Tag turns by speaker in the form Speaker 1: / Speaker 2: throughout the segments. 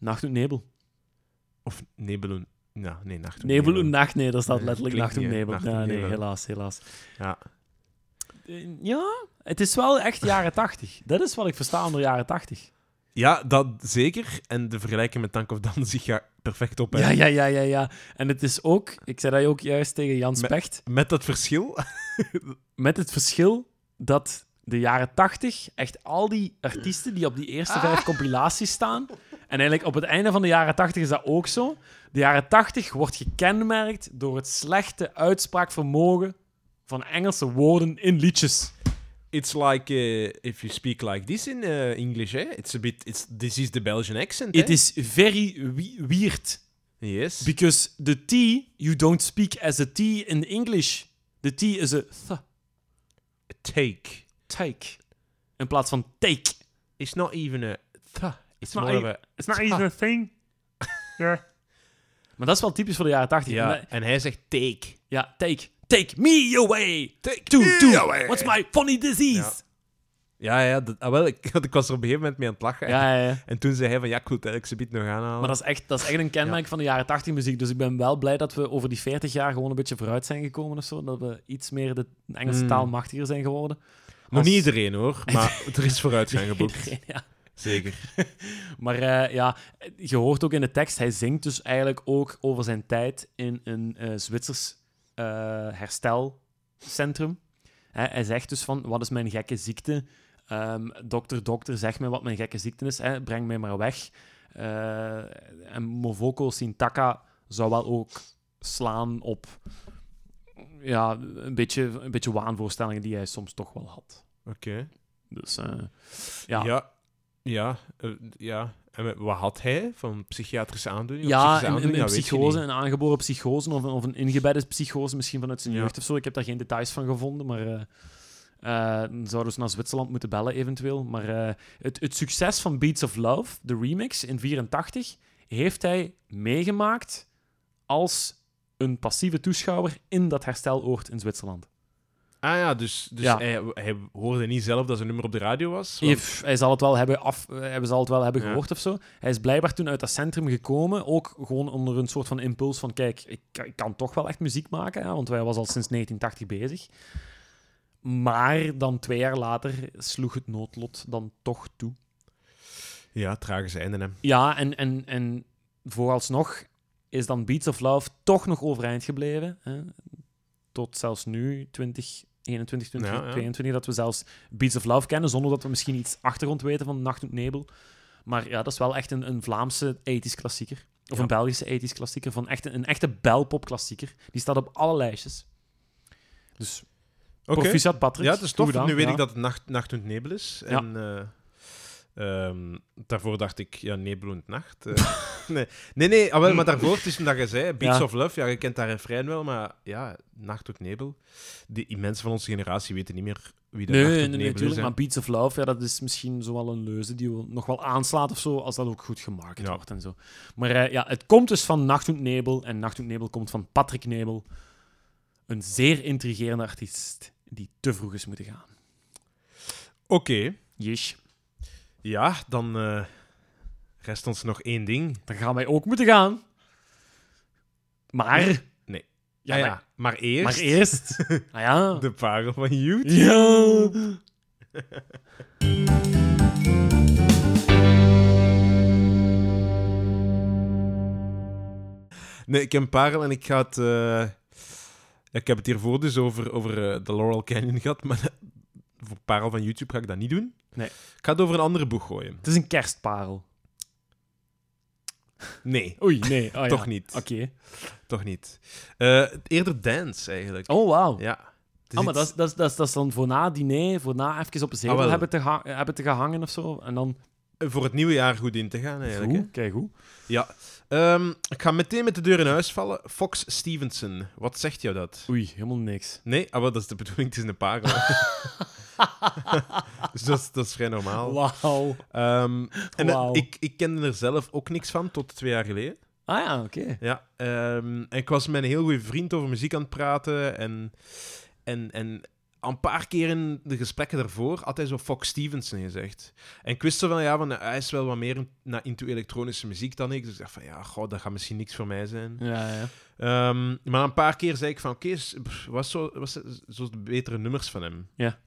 Speaker 1: Nacht und Nebel.
Speaker 2: Of Nebel und... Ja, nee, Nacht und
Speaker 1: Nebel und Nacht, nee, dat staat
Speaker 2: Nee,
Speaker 1: letterlijk
Speaker 2: klinkt
Speaker 1: Nacht en
Speaker 2: niet, hè.
Speaker 1: Nebel.
Speaker 2: Nacht
Speaker 1: ja,
Speaker 2: en
Speaker 1: nee,
Speaker 2: Nebel.
Speaker 1: helaas, helaas.
Speaker 2: Ja.
Speaker 1: Eh, Ja, het is wel echt jaren 80. Dat is wat ik versta onder jaren 80.
Speaker 2: ja, dat zeker. En de vergelijking met Tank of Danzig gaat perfect op. hè.
Speaker 1: Ja, ja, ja, ja, ja. En het is ook, ik zei dat ook juist tegen Jan
Speaker 2: Met-
Speaker 1: Specht,
Speaker 2: Met dat verschil.
Speaker 1: met het verschil dat de jaren 80 echt al die artiesten die op die eerste vijf compilaties staan. En eigenlijk op het einde van de jaren 80 is dat ook zo. De jaren 80 wordt gekenmerkt door het slechte uitspraakvermogen van Engelse woorden in liedjes.
Speaker 2: It's like eh, if you speak like this in eh, English, hè? It's a bit. It's, this is the Belgian accent.
Speaker 1: It
Speaker 2: hè?
Speaker 1: is very we- weird.
Speaker 2: Yes.
Speaker 1: Because the T, you don't speak as a T in English. The T is a th,
Speaker 2: take.
Speaker 1: take. In plaats van take.
Speaker 2: It's not even a. Th. It's,
Speaker 1: not
Speaker 2: more
Speaker 1: e-
Speaker 2: of a.
Speaker 1: It's not even a thing. Maar dat is wel typisch voor de jaren 80. En dat-
Speaker 2: Ja, en hij zegt take.
Speaker 1: ja take. Take me away.
Speaker 2: Take
Speaker 1: To,
Speaker 2: me
Speaker 1: to.
Speaker 2: away.
Speaker 1: What's my funny disease?
Speaker 2: Ja, ja, dat, ah, wel, ik, ik was er op een gegeven moment mee aan het lachen.
Speaker 1: Ja, ja, ja.
Speaker 2: En toen zei hij van, ja, ik wil het eigenlijk zometeen nog aanhalen.
Speaker 1: Maar dat is echt, dat is echt een kenmerk van de jaren 80 muziek. Dus ik ben wel blij dat we over die 40 jaar gewoon een beetje vooruit zijn gekomen of zo. Dat we iets meer de Engelse
Speaker 2: Mm.
Speaker 1: taal machtiger zijn geworden.
Speaker 2: Nog
Speaker 1: als-
Speaker 2: niet iedereen, hoor. Maar er is vooruitgang geboekt.
Speaker 1: Iedereen, ja.
Speaker 2: Zeker.
Speaker 1: Maar eh, ja, je hoort ook in de tekst, hij zingt dus eigenlijk ook over zijn tijd in een eh, Zwitsers eh, herstelcentrum. Hè, hij zegt dus van, wat is mijn gekke ziekte? Ehm, dokter, dokter, zeg me wat mijn gekke ziekte is. Hè? Breng mij maar weg. Eh, en Movoko Sintaka zou wel ook slaan op ja, een, beetje, een beetje waanvoorstellingen die hij soms toch wel had.
Speaker 2: Oké.
Speaker 1: Dus eh, ja.
Speaker 2: Ja. Ja. Ja. eh, ja. En met- wat had hij van psychiatrische aandoening? Of
Speaker 1: Ja, een, een,
Speaker 2: psychische aandoening?
Speaker 1: een
Speaker 2: Dat weet je
Speaker 1: psychose,
Speaker 2: niet.
Speaker 1: een aangeboren psychose of een, of een ingebedde psychose, misschien vanuit zijn
Speaker 2: Ja.
Speaker 1: jeugd of zo. Ik heb daar geen details van gevonden, maar eh eh, dan zouden ze naar Zwitserland moeten bellen eventueel. Maar eh, het, het succes van Beats of Love, de remix in 84, heeft hij meegemaakt als een passieve toeschouwer in dat hersteloord in Zwitserland.
Speaker 2: Ah ja, dus, dus
Speaker 1: Ja.
Speaker 2: Hij, hij hoorde niet zelf dat zijn nummer op de radio was. want-
Speaker 1: Heeft- hij zal het wel hebben, af, eh, hij zal het wel hebben
Speaker 2: Ja.
Speaker 1: gehoord of zo. Hij is blijkbaar toen uit dat centrum gekomen. Ook gewoon onder een soort van impuls van... Kijk, ik, ik kan toch wel echt muziek maken. Hè, want hij was al sinds 1980 bezig. Maar dan twee jaar later sloeg het noodlot dan toch toe.
Speaker 2: Ja, tragische einde, hè.
Speaker 1: Ja, en, en, en vooralsnog is dan Beats of Love toch nog overeind gebleven. Hè? Tot zelfs nu, 2021, 2022, dat we zelfs Beats of Love kennen, zonder dat we misschien iets achtergrond weten van Nacht en Nebel. Maar ja, dat is wel echt een, een Vlaamse ethisch klassieker. Of
Speaker 2: Ja.
Speaker 1: een Belgische ethisch klassieker. Van echt, een echte belpop klassieker. Die staat op alle lijstjes. Dus
Speaker 2: Oké.
Speaker 1: proficiat, Patrick.
Speaker 2: Ja, het is
Speaker 1: Goed
Speaker 2: tof.
Speaker 1: gedaan,
Speaker 2: nu weet
Speaker 1: ja.
Speaker 2: ik dat het nacht, nacht und Nebel is. En, eh, ehm, daarvoor dacht ik, ja, Nebel und Nacht. eh. nee, nee, nee ah, wel, maar daarvoor, het is omdat je zei, Beats
Speaker 1: Ja.
Speaker 2: of Love, ja, je kent dat refrein wel, maar ja, Nacht und Nebel. Die mensen van onze generatie weten niet meer wie dat
Speaker 1: Nee,
Speaker 2: Nacht und
Speaker 1: nee, nee,
Speaker 2: Nebel is.
Speaker 1: natuurlijk.
Speaker 2: hè.
Speaker 1: Maar Beats of Love, ja, dat is misschien zo wel een leuze die wel- nog wel aanslaat of zo, als dat ook goed gemarket
Speaker 2: Ja.
Speaker 1: wordt en zo. Maar eh, ja, het komt dus van Nacht und Nebel. En Nacht und Nebel komt van Patrick Nebel. Een zeer intrigerende artiest die te vroeg is moeten gaan.
Speaker 2: Oké,
Speaker 1: Yes.
Speaker 2: ja, dan eh, rest ons nog één ding.
Speaker 1: Dan gaan wij ook moeten gaan. Maar...
Speaker 2: Nee.
Speaker 1: Ja,
Speaker 2: Ah ja,
Speaker 1: maar-
Speaker 2: maar eerst,
Speaker 1: Maar eerst... nou ja.
Speaker 2: de parel van YouTube.
Speaker 1: Ja.
Speaker 2: Nee, ik heb een parel en ik ga het... eh, Ik heb het hiervoor dus over, over eh, de Laurel Canyon gehad, maar voor parel van YouTube ga ik dat niet doen.
Speaker 1: Nee.
Speaker 2: Ik ga het over een andere boek gooien.
Speaker 1: Het is een kerstparel.
Speaker 2: Nee, Ah,
Speaker 1: Oei, nee. Oh, ja.
Speaker 2: toch niet.
Speaker 1: Oké.
Speaker 2: Toch niet. Eh, eerder dance, eigenlijk.
Speaker 1: Oh, wauw.
Speaker 2: Ja. Het is
Speaker 1: Ah, maar
Speaker 2: iets-
Speaker 1: dat is, dat, is, dat, is, dat is dan voor na het diner, voor na even op een zetel
Speaker 2: Ah, wel.
Speaker 1: hebben, te ga- hebben te gaan hangen of zo. En dan...
Speaker 2: voor het nieuwe jaar goed in te gaan, eigenlijk. hè.
Speaker 1: Goed, kijk hoe.
Speaker 2: Ja. Ehm, ik ga meteen met de deur in huis vallen. Fox Stevenson. Wat zegt jou dat?
Speaker 1: Oei, helemaal niks.
Speaker 2: Nee, ah, wel, dat is de bedoeling. Het is een parel. dus dat is, dat is vrij normaal.
Speaker 1: Wauw.
Speaker 2: Ehm, en eh,
Speaker 1: Wauw.
Speaker 2: ik, ik kende er zelf ook niks van, tot twee jaar geleden.
Speaker 1: Ah ja, oké.
Speaker 2: Ja, ehm, en ik was met een heel goede vriend over muziek aan het praten. En, en, en een paar keer in de gesprekken daarvoor had hij zo Fox Stevenson gezegd. En ik wist zo van, ja, van, hij is wel wat meer in- na- into elektronische muziek dan ik. Dus ik dacht van, ja, god, dat gaat misschien niks voor mij zijn.
Speaker 1: Ja, ja.
Speaker 2: Ehm, maar een paar keer zei ik van, oké, s- pff, wat zo, wat z- zo de betere nummers van hem?
Speaker 1: Ja.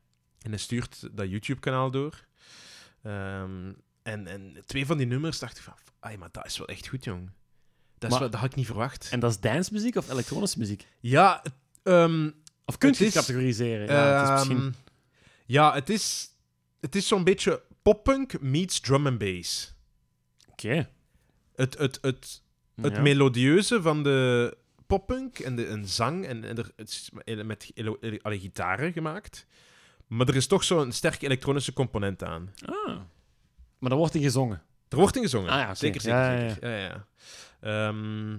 Speaker 2: En hij stuurt dat YouTube-kanaal door. Ehm, en, en twee van die nummers dacht ik van, ai, maar dat is wel echt goed, jong. Dat, is
Speaker 1: Maar-
Speaker 2: wel, dat had ik niet verwacht.
Speaker 1: En dat is dancemuziek of elektronische muziek?
Speaker 2: Ja, het- ehm,
Speaker 1: Of kun
Speaker 2: Het
Speaker 1: je het
Speaker 2: is,
Speaker 1: categoriseren? Ja, het is misschien...
Speaker 2: Ehm, ja, het is, het is zo'n beetje poppunk meets drum and bass.
Speaker 1: Oké.
Speaker 2: Het, het, het, het
Speaker 1: Ja.
Speaker 2: melodieuze van de poppunk en de en zang en, en er, het is met ele- ele- alle gitaren gemaakt. Maar er is toch zo'n sterke elektronische component aan.
Speaker 1: Ah. Maar dan wordt hij gezongen.
Speaker 2: Er wordt in gezongen.
Speaker 1: Ah ja, oké.
Speaker 2: Zeker, zeker,
Speaker 1: Ja, ja, ja.
Speaker 2: zeker. Ja, ja. Ehm,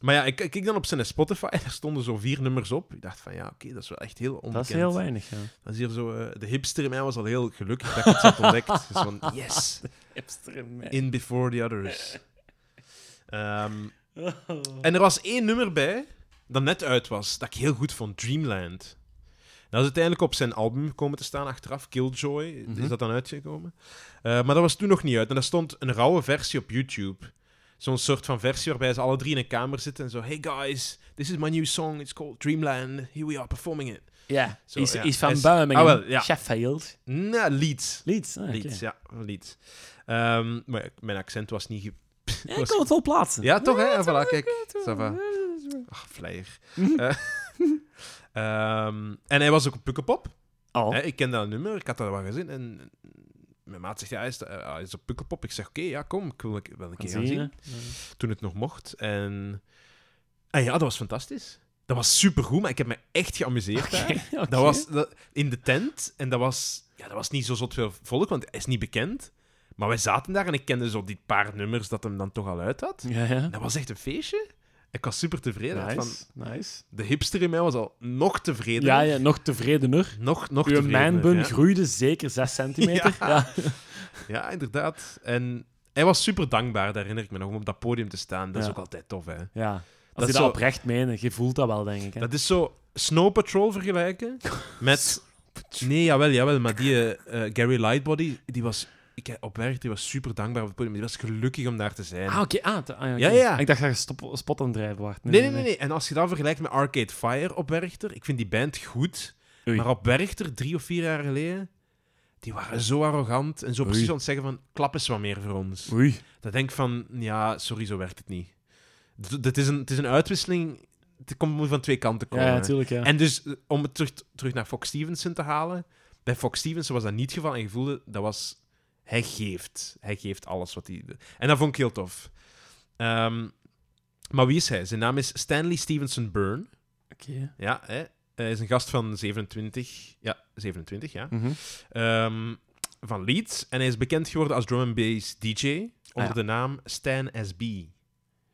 Speaker 2: maar ja, ik ik keek dan op zijn Spotify en daar stonden zo vier nummers op. Ik dacht van ja, oké, dat is wel echt heel onbekend.
Speaker 1: Dat is heel weinig, ja.
Speaker 2: Dat is hier zo, eh, de hipster in mij was al heel gelukkig dat ik het had ontdekt. Dus van, yes, in before the others. Ehm,
Speaker 1: Oh.
Speaker 2: en er was één nummer bij dat net uit was, dat ik heel goed vond, Dreamland. Dat is uiteindelijk op zijn album komen te staan achteraf, Killjoy,
Speaker 1: Mhm.
Speaker 2: is dat dan uitgekomen. Eh, maar dat was toen nog niet uit. En daar stond een rauwe versie op YouTube. Zo'n soort van versie waarbij ze alle drie in een kamer zitten en zo... Hey guys, this is my new song, it's called Dreamland, here we are performing it.
Speaker 1: Ja,
Speaker 2: Zo,
Speaker 1: is,
Speaker 2: ja.
Speaker 1: is van
Speaker 2: Is-
Speaker 1: Birmingham,
Speaker 2: Ah, wel, ja.
Speaker 1: Sheffield.
Speaker 2: Nou, Leeds.
Speaker 1: Leeds, ah, oké.
Speaker 2: Leeds, ja, van Leeds. Ehm, maar ja, mijn accent was niet... ge-
Speaker 1: Ja, ik kon het wel plaatsen.
Speaker 2: Ja, toch, hè?
Speaker 1: Ja,
Speaker 2: Ah, voilà,
Speaker 1: toch,
Speaker 2: kijk.
Speaker 1: toch.
Speaker 2: Ça va. Ach, flyer. Eh, ehm, en hij was ook op Pukkelpop.
Speaker 1: Al.
Speaker 2: Hè, ik ken dat nummer, ik had dat wel gezien. En mijn maat zegt, ja, hij is, eh, hij is op Pukkelpop. Ik zeg, oké, ja, kom, ik wil het wel een keer gaan zien. Toen het nog mocht. En, en ja, dat was fantastisch. Dat was supergoed, maar ik heb me echt geamuseerd daar. Dat was dat- in de tent en dat was, ja, dat was niet zo zot veel volk, want hij is niet bekend. Maar wij zaten daar en ik kende zo die paar nummers dat hem dan toch al uit had.
Speaker 1: Ja, ja.
Speaker 2: Dat was echt een feestje. Ik was super tevreden. Van,
Speaker 1: Nice, nice.
Speaker 2: de hipster in mij was al nog tevredener.
Speaker 1: Ja, ja, nog tevredener.
Speaker 2: Nog, nog
Speaker 1: Uw
Speaker 2: tevredener,
Speaker 1: manbun
Speaker 2: ja.
Speaker 1: groeide zeker 6 centimeter.
Speaker 2: Ja.
Speaker 1: Ja.
Speaker 2: Ja, inderdaad. En hij was super dankbaar, daar herinner ik me nog, om op dat podium te staan. Dat
Speaker 1: Ja.
Speaker 2: is ook altijd tof, hè.
Speaker 1: Ja.
Speaker 2: Dat
Speaker 1: Als je
Speaker 2: is
Speaker 1: dat
Speaker 2: zo-
Speaker 1: oprecht meent, je voelt dat wel, denk ik. Hè?
Speaker 2: Dat is zo Snow Patrol vergelijken met... Nee, jawel, jawel. Maar die eh, eh, Gary Lightbody, die was... Ik, op werk, die was super dankbaar op het podium. Die was gelukkig om daar te zijn.
Speaker 1: Ah, oké. Ah, t- ah, oké.
Speaker 2: Ja, ja.
Speaker 1: Ik dacht dat je stop, spot aan het drijven was.
Speaker 2: nee, nee, nee, nee. En als je dat vergelijkt met Arcade Fire op Werchter, ik vind die band goed.
Speaker 1: Oei.
Speaker 2: Maar op Werchter, drie of vier jaar geleden, die waren zo arrogant en zo
Speaker 1: Oei.
Speaker 2: precies aan het zeggen van, klap eens wat meer voor ons.
Speaker 1: Oei.
Speaker 2: Dat denk ik van, ja, sorry, zo werkt het niet. D- dit is een, het is een uitwisseling, het komt moet van twee kanten komen.
Speaker 1: Ja, natuurlijk, ja.
Speaker 2: en dus, eh, om het terug, terug naar Fox Stevenson te halen, bij Fox Stevenson was dat niet het geval en je voelde, dat was, hij geeft. Hij geeft alles wat hij... En dat vond ik heel tof. Ehm, maar wie is hij? Zijn naam is Stanley Stevenson Byrne.
Speaker 1: Oké.
Speaker 2: Ja, hè? Hij is een gast van 27. Ja, 27, ja.
Speaker 1: Mhm.
Speaker 2: Ehm, van Leeds. En hij is bekend geworden als drum and bass DJ onder
Speaker 1: Ah, ja.
Speaker 2: de naam Stan SB.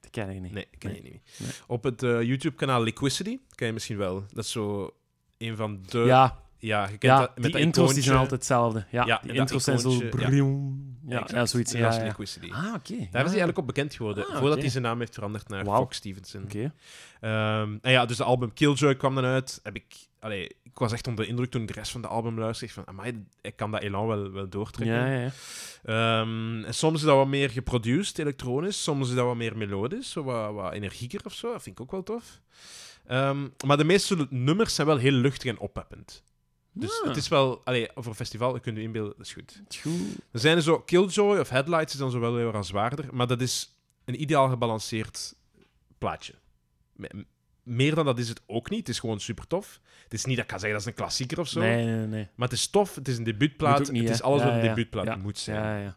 Speaker 1: Dat ken ik niet.
Speaker 2: Nee, ken
Speaker 1: Nee.
Speaker 2: je niet.
Speaker 1: Nee.
Speaker 2: Op het eh, YouTube-kanaal Liquidity ken je misschien wel. Dat is zo een van de...
Speaker 1: Ja,
Speaker 2: ja je kent
Speaker 1: ja
Speaker 2: dat, met
Speaker 1: die
Speaker 2: dat
Speaker 1: intro's die
Speaker 2: icoontje.
Speaker 1: zijn altijd hetzelfde. Ja,
Speaker 2: Ja,
Speaker 1: die
Speaker 2: dat
Speaker 1: intro's zijn zo...
Speaker 2: icoontje, ja.
Speaker 1: brrrrrrrrrrrrrrrrrr. Ja, ja,
Speaker 2: Exact.
Speaker 1: zoiets.
Speaker 2: En
Speaker 1: Ja,
Speaker 2: dat is
Speaker 1: ja.
Speaker 2: Liquidity.
Speaker 1: Ah, oké.
Speaker 2: Daar is
Speaker 1: ja,
Speaker 2: hij eigenlijk op bekend geworden,
Speaker 1: Ah,
Speaker 2: voordat
Speaker 1: oké.
Speaker 2: hij zijn naam heeft veranderd naar
Speaker 1: Wauw.
Speaker 2: Fox Stevenson.
Speaker 1: Oké.
Speaker 2: Ehm, en ja, dus de album Killjoy kwam dan uit. Heb ik, allee, ik was echt onder de indruk toen ik de rest van de album luisterde. Ik van, amai, ik kan dat elan wel, wel doortrekken.
Speaker 1: Ja, ja, ja.
Speaker 2: Ehm, en soms is dat wat meer geproduceerd, elektronisch. Soms is dat wat meer melodisch, zo wat, wat energieker of zo. Dat vind ik ook wel tof. Ehm, maar de meeste nummers zijn wel heel luchtig en opheppend. Dus
Speaker 1: Ah,
Speaker 2: het is wel... Allee, voor een festival, dat kun je inbeelden, dat is goed.
Speaker 1: het is goed.
Speaker 2: Er zijn er zo... Killjoy of Headlights is dan zo wel weer wat zwaarder. Maar dat is een ideaal gebalanceerd plaatje. Me- Meer dan dat is het ook niet. Het is gewoon super tof. Het is niet dat ik ga zeggen dat is een klassieker of zo.
Speaker 1: Nee, nee, nee, nee.
Speaker 2: Maar het is tof, het is een
Speaker 1: Moet
Speaker 2: debuutplaat.
Speaker 1: ook niet,
Speaker 2: het is
Speaker 1: hè?
Speaker 2: alles
Speaker 1: Ja,
Speaker 2: wat een
Speaker 1: ja.
Speaker 2: debuutplaat
Speaker 1: Ja.
Speaker 2: moet zijn.
Speaker 1: Ja, ja.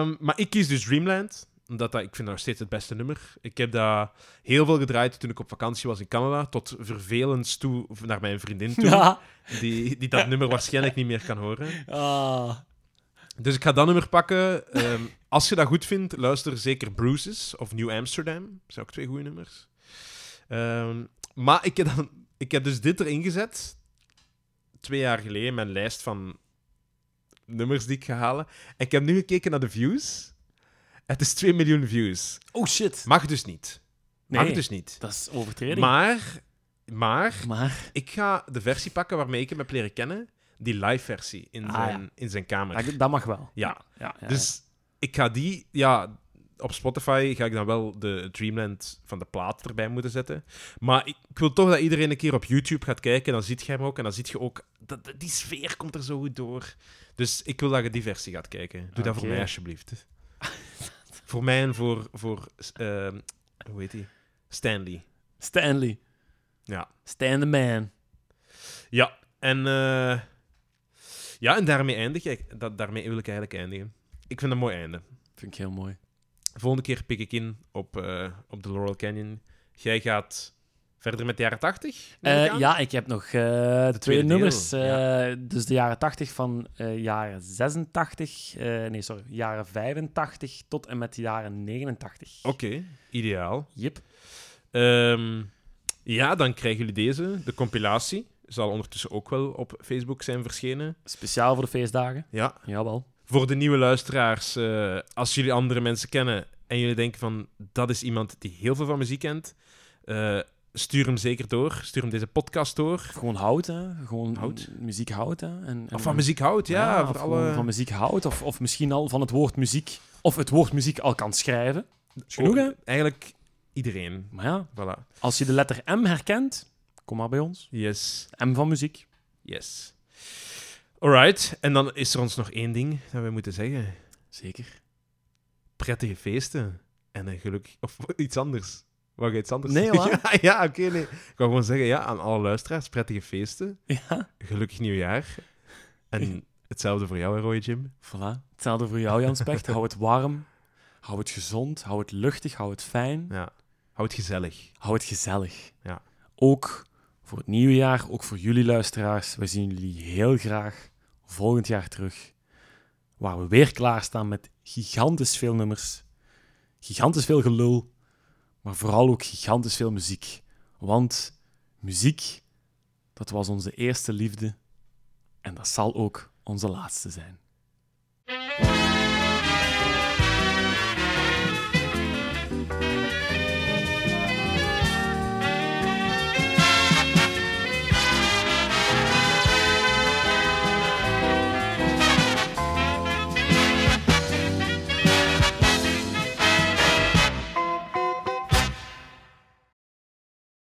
Speaker 2: Ehm, maar ik kies dus Dreamland. Omdat dat, ik vind dat nog steeds het beste nummer. Ik heb dat heel veel gedraaid toen ik op vakantie was in Canada. Tot vervelens toe naar mijn vriendin toe.
Speaker 1: Ja.
Speaker 2: Die, die dat nummer waarschijnlijk niet meer kan horen.
Speaker 1: Ah.
Speaker 2: Dus ik ga dat nummer pakken. Ehm, als je dat goed vindt, luister zeker Bruises of New Amsterdam. Dat zijn ook twee goede nummers. Ehm, maar ik heb, dan, ik heb dus dit erin gezet. Twee jaar geleden, mijn lijst van nummers die ik ga halen. En ik heb nu gekeken naar de views. Het is 2 miljoen views.
Speaker 1: Oh, shit.
Speaker 2: Mag dus niet. Mag
Speaker 1: Nee,
Speaker 2: dus niet.
Speaker 1: dat is overtreding.
Speaker 2: Maar Maar
Speaker 1: Maar
Speaker 2: ik ga de versie pakken waarmee ik hem heb leren kennen. Die live versie in
Speaker 1: Ah,
Speaker 2: zijn, in zijn kamer.
Speaker 1: dat, dat mag wel.
Speaker 2: Ja,
Speaker 1: Ja, ja,
Speaker 2: dus ik ga die, ja, op Spotify ga ik dan wel de Dreamland van de plaat erbij moeten zetten. Maar ik, ik wil toch dat iedereen een keer op YouTube gaat kijken. Dan ziet je hem ook en dan ziet je ook, dat, dat- die sfeer komt er zo goed door. Dus ik wil dat je die versie gaat kijken. Doe dat voor
Speaker 1: Oké.
Speaker 2: mij alsjeblieft. voor mij en voor, voor ehm, hoe heet die? Stanley.
Speaker 1: ja. Stanley.
Speaker 2: Ja.
Speaker 1: Stan the man.
Speaker 2: Ja, en, eh, ja, en daarmee eindig ik. Dat, daarmee wil ik eigenlijk eindigen. Ik vind het een mooi einde.
Speaker 1: Vind ik heel mooi.
Speaker 2: Volgende keer pik ik in op, eh, op de Laurel Canyon. Jij gaat verder met de jaren 80? neem ik
Speaker 1: Eh,
Speaker 2: aan?
Speaker 1: ja, ik heb nog eh, twee
Speaker 2: tweede
Speaker 1: nummers.
Speaker 2: deel,
Speaker 1: eh, Dus de jaren 80 van eh, jaren 86. eh, nee, sorry. Jaren 85 tot en met de jaren 89.
Speaker 2: Oké, ideaal.
Speaker 1: Yep.
Speaker 2: Ehm, ja, dan krijgen jullie deze. De compilatie zal ondertussen ook wel op Facebook zijn verschenen.
Speaker 1: Speciaal voor de feestdagen.
Speaker 2: Ja.
Speaker 1: Jawel.
Speaker 2: Voor de nieuwe luisteraars, eh, als jullie andere mensen kennen en jullie denken van dat is iemand die heel veel van muziek kent, eh, stuur hem zeker door. Stuur hem deze podcast door.
Speaker 1: Of gewoon hout, hè. Gewoon
Speaker 2: Hout?
Speaker 1: m- muziek hout, hè. En, en-
Speaker 2: Of van muziek houdt, ja.
Speaker 1: Ja,
Speaker 2: voor
Speaker 1: of gewoon
Speaker 2: alle...
Speaker 1: van muziek houdt. Of, of misschien al van het woord muziek. Of het woord muziek al kan schrijven. Dat is genoeg, hè.
Speaker 2: Oh, Eigenlijk iedereen.
Speaker 1: Maar ja,
Speaker 2: Voilà.
Speaker 1: als je de letter M herkent, kom maar bij ons.
Speaker 2: Yes.
Speaker 1: M van muziek.
Speaker 2: Yes. Alright, en dan is er ons nog één ding dat we moeten zeggen.
Speaker 1: Zeker.
Speaker 2: Prettige feesten en een gelukkig... Of iets anders. Wou je iets anders
Speaker 1: Nee,
Speaker 2: zeggen?
Speaker 1: hoor.
Speaker 2: Ja, ja, oké, nee. Ik wou gewoon zeggen, ja, aan alle luisteraars, prettige feesten,
Speaker 1: Ja,
Speaker 2: gelukkig nieuwjaar. En hetzelfde voor jou, hè, Roy Jim.
Speaker 1: voilà. Hetzelfde voor jou, Jan Specht. hou het warm. Hou het gezond. Hou het luchtig. Hou het fijn.
Speaker 2: Ja. Houd het gezellig.
Speaker 1: Hou het gezellig.
Speaker 2: Ja.
Speaker 1: Ook voor het nieuwe jaar, ook voor jullie luisteraars. We zien jullie heel graag volgend jaar terug. Waar we weer klaarstaan met gigantisch veel nummers. Gigantisch veel gelul. Maar vooral ook gigantisch veel muziek. Want muziek, dat was onze eerste liefde. En dat zal ook onze laatste zijn.